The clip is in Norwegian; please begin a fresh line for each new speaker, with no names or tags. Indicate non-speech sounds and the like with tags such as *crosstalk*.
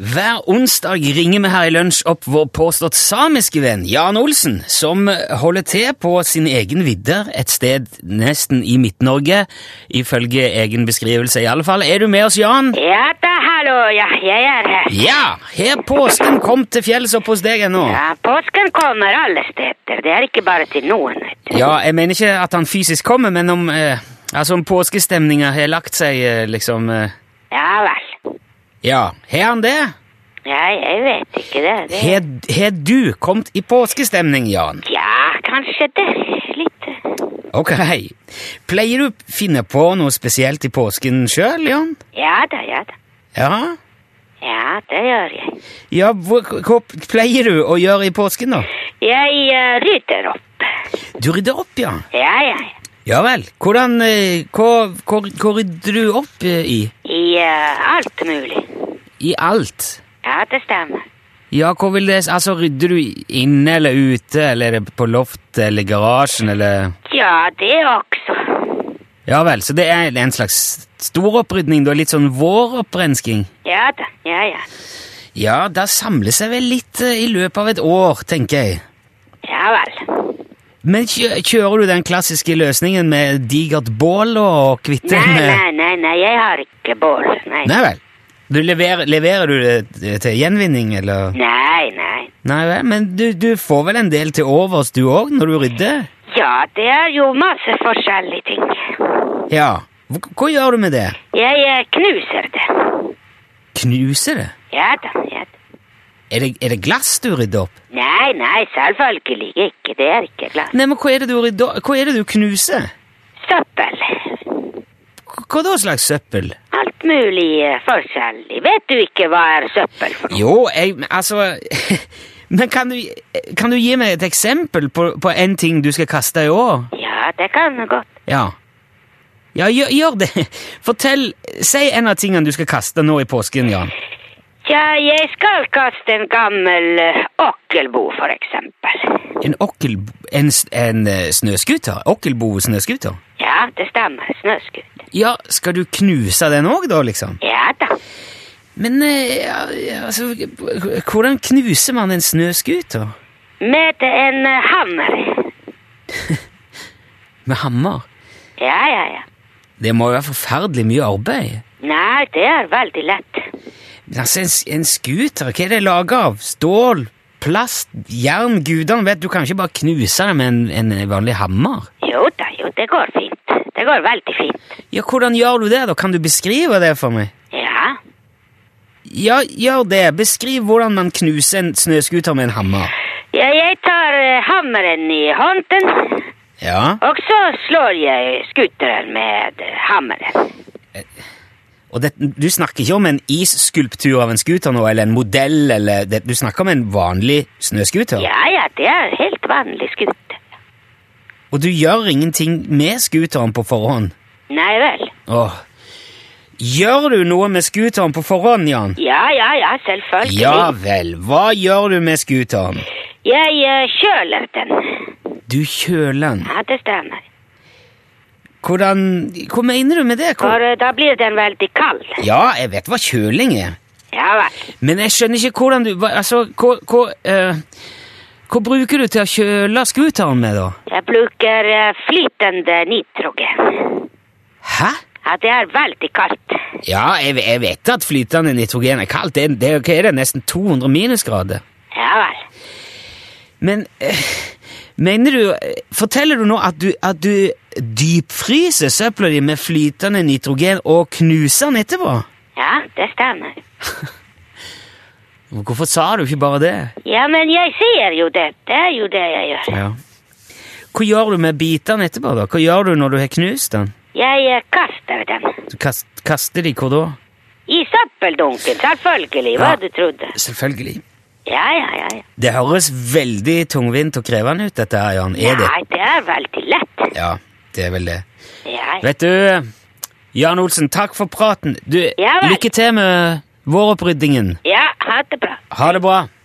Hver onsdag ringer vi her i lunsj opp vår påstått samiske venn Jan Olsen, som holder til på sin egen vidder, et sted nesten i Midt-Norge, ifølge egen beskrivelse i alle fall. Er du med oss, Jan?
Ja da, hallo, ja, jeg er her.
Ja! Har påsken kommet til fjells oppe hos deg ennå?
Ja, påsken kommer alle steder, det er ikke bare til noen. vet du.
Ja, jeg mener ikke at han fysisk kommer, men om, eh, altså om påskestemninga har lagt seg, eh, liksom eh,
Ja vel.
Ja, har han det?
Ja, jeg vet ikke det. det.
Har har du kommet i påskestemning, Jan?
Ja, kanskje det. Litt.
Ok. Pleier du å finne på noe spesielt i påsken sjøl, Jan?
Ja da, ja da.
Ja?
Ja, det gjør jeg.
Ja, hva, hva pleier du å gjøre i påsken, da?
Jeg eh, rydder opp.
Du rydder opp, ja.
Ja, ja, ja.
Ja vel. Hvordan eh, Hva, hva, hva rydder du opp eh, i?
I eh, alt mulig.
I alt?
Ja, det stemmer.
Ja, hva vil det Altså, rydder du inne eller ute, eller er det på loftet eller garasjen, eller
Ja, det også.
Ja vel, så det er en slags storopprydning, da? Litt sånn våropprensking?
Ja da, ja, ja.
Ja, da samles jeg vel litt eh, i løpet av et år, tenker jeg.
Ja vel.
Men kjø kjører du den klassiske løsningen med digert bål og kvitte
Nei,
med
nei, nei, nei, jeg har ikke bål.
eh,
Nei,
Nei vel. Du leverer, leverer du det til gjenvinning, eller
nei. nei.
Nei vel, men du, du får vel en del til overs, du òg, når du rydder?
Ja, det er jo masse forskjellige ting.
Ja. Hva, hva gjør du med det?
Jeg eh, knuser det.
Knuser det?
Ja da, ja da.
Er det, er det glass du rydder opp?
Nei, nei, selvfølgelig ikke. Det er ikke glatt.
Nei, men hva er det du rydder Hva er det du knuser?
Søppel.
Hva hva da slags søppel?
Alt mulig eh, forskjellig. Vet du ikke hva er søppel for noe?
Jo, jeg men Altså *laughs* Men kan du, kan du gi meg et eksempel på, på en ting du skal kaste i år?
Ja, det kan du godt.
Ja. Ja, gjør, gjør det. Fortell, Si en av tingene du skal kaste nå i påsken, Jan.
Ja, jeg skal kaste en gammel eh, okkelbo, for eksempel.
En, okkel, en, s- en eh, snøskuter? Okkelbo-snøskuter?
Ja, det stemmer. Snøskuter.
Ja, skal du knuse den òg, da, liksom?
Ja da.
Men eh, ja, ja, altså h- Hvordan knuser man en snøskuter?
Med en eh, hammer.
Med hammer?
Ja, ja, ja.
Det må jo være forferdelig mye arbeid.
Nei, det er veldig lett.
Men altså, en, s- en scooter, hva er det laget av? Stål, plast, jern, gudene vet, du kan ikke bare knuse det med en, en vanlig hammer.
Jo da, jo, det går fint. Det går veldig fint.
Ja, hvordan gjør du det da? Kan du beskrive det for meg?
Ja.
Ja, gjør det. Beskriv hvordan man knuser en snøskuter med en hammer.
Ja, jeg tar eh, hammeren i hånden,
Ja.
og så slår jeg skuteren med eh, hammeren.
Og det, du snakker ikke om en isskulptur av en scooter nå, eller en modell, eller det, du snakker om en vanlig snøskuter.
Ja, ja, det er helt vanlig skuter.
Og du gjør ingenting med scooteren på forhånd.
Nei vel.
Åh. Gjør du noe med scooteren på forhånd, Jan?
Ja, ja, ja, selvfølgelig.
Ja vel, hva gjør du med scooteren?
Jeg eh, kjøler den.
Du kjøler den.
Ja, det stemmer.
Hvordan Hva mener du med det? Hvor?
For eh, da blir den veldig kald.
Ja, jeg vet hva kjøling er,
Ja vel.
men jeg skjønner ikke hvordan du hva, Altså, hva Hva, eh, hva bruker du til å kjøle scooteren med, da?
Jeg bruker eh, flytende nitrogen.
Hæ?
Ja, det er veldig kaldt.
Ja, jeg, ve- jeg vet at flytende nitrogen er kaldt. Det, er- det, er- hva er det? Nesten 200 minusgrader.
Ja vel.
Men eh, mener du eh, Forteller du nå at du, at du dypfryser søpla di med flytende nitrogen og knuser den etterpå?
Ja, det stemmer.
Hvorfor sa du ikke bare det?
Ja, men jeg sier jo det. Det er jo det jeg gjør.
Hva gjør du med bitene etterpå? da? Hva gjør du når du har knust den?
Jeg eh, kaster den.
Du kast, kaster de hvor da?
I søppeldunken, selvfølgelig. Hva
Ja.
du trodde.
Selvfølgelig.
Ja, ja, ja. ja.
Det høres veldig tungvint og krevende ut, dette her, Jan. Er det?
Nei, det er veldig lett.
Ja, det er vel det.
Ja, ja.
Vet du, Jan Olsen, takk for praten. Du,
Ja vel.
lykke til med våropprydningen.
ja ha det bra.
Ha det bra.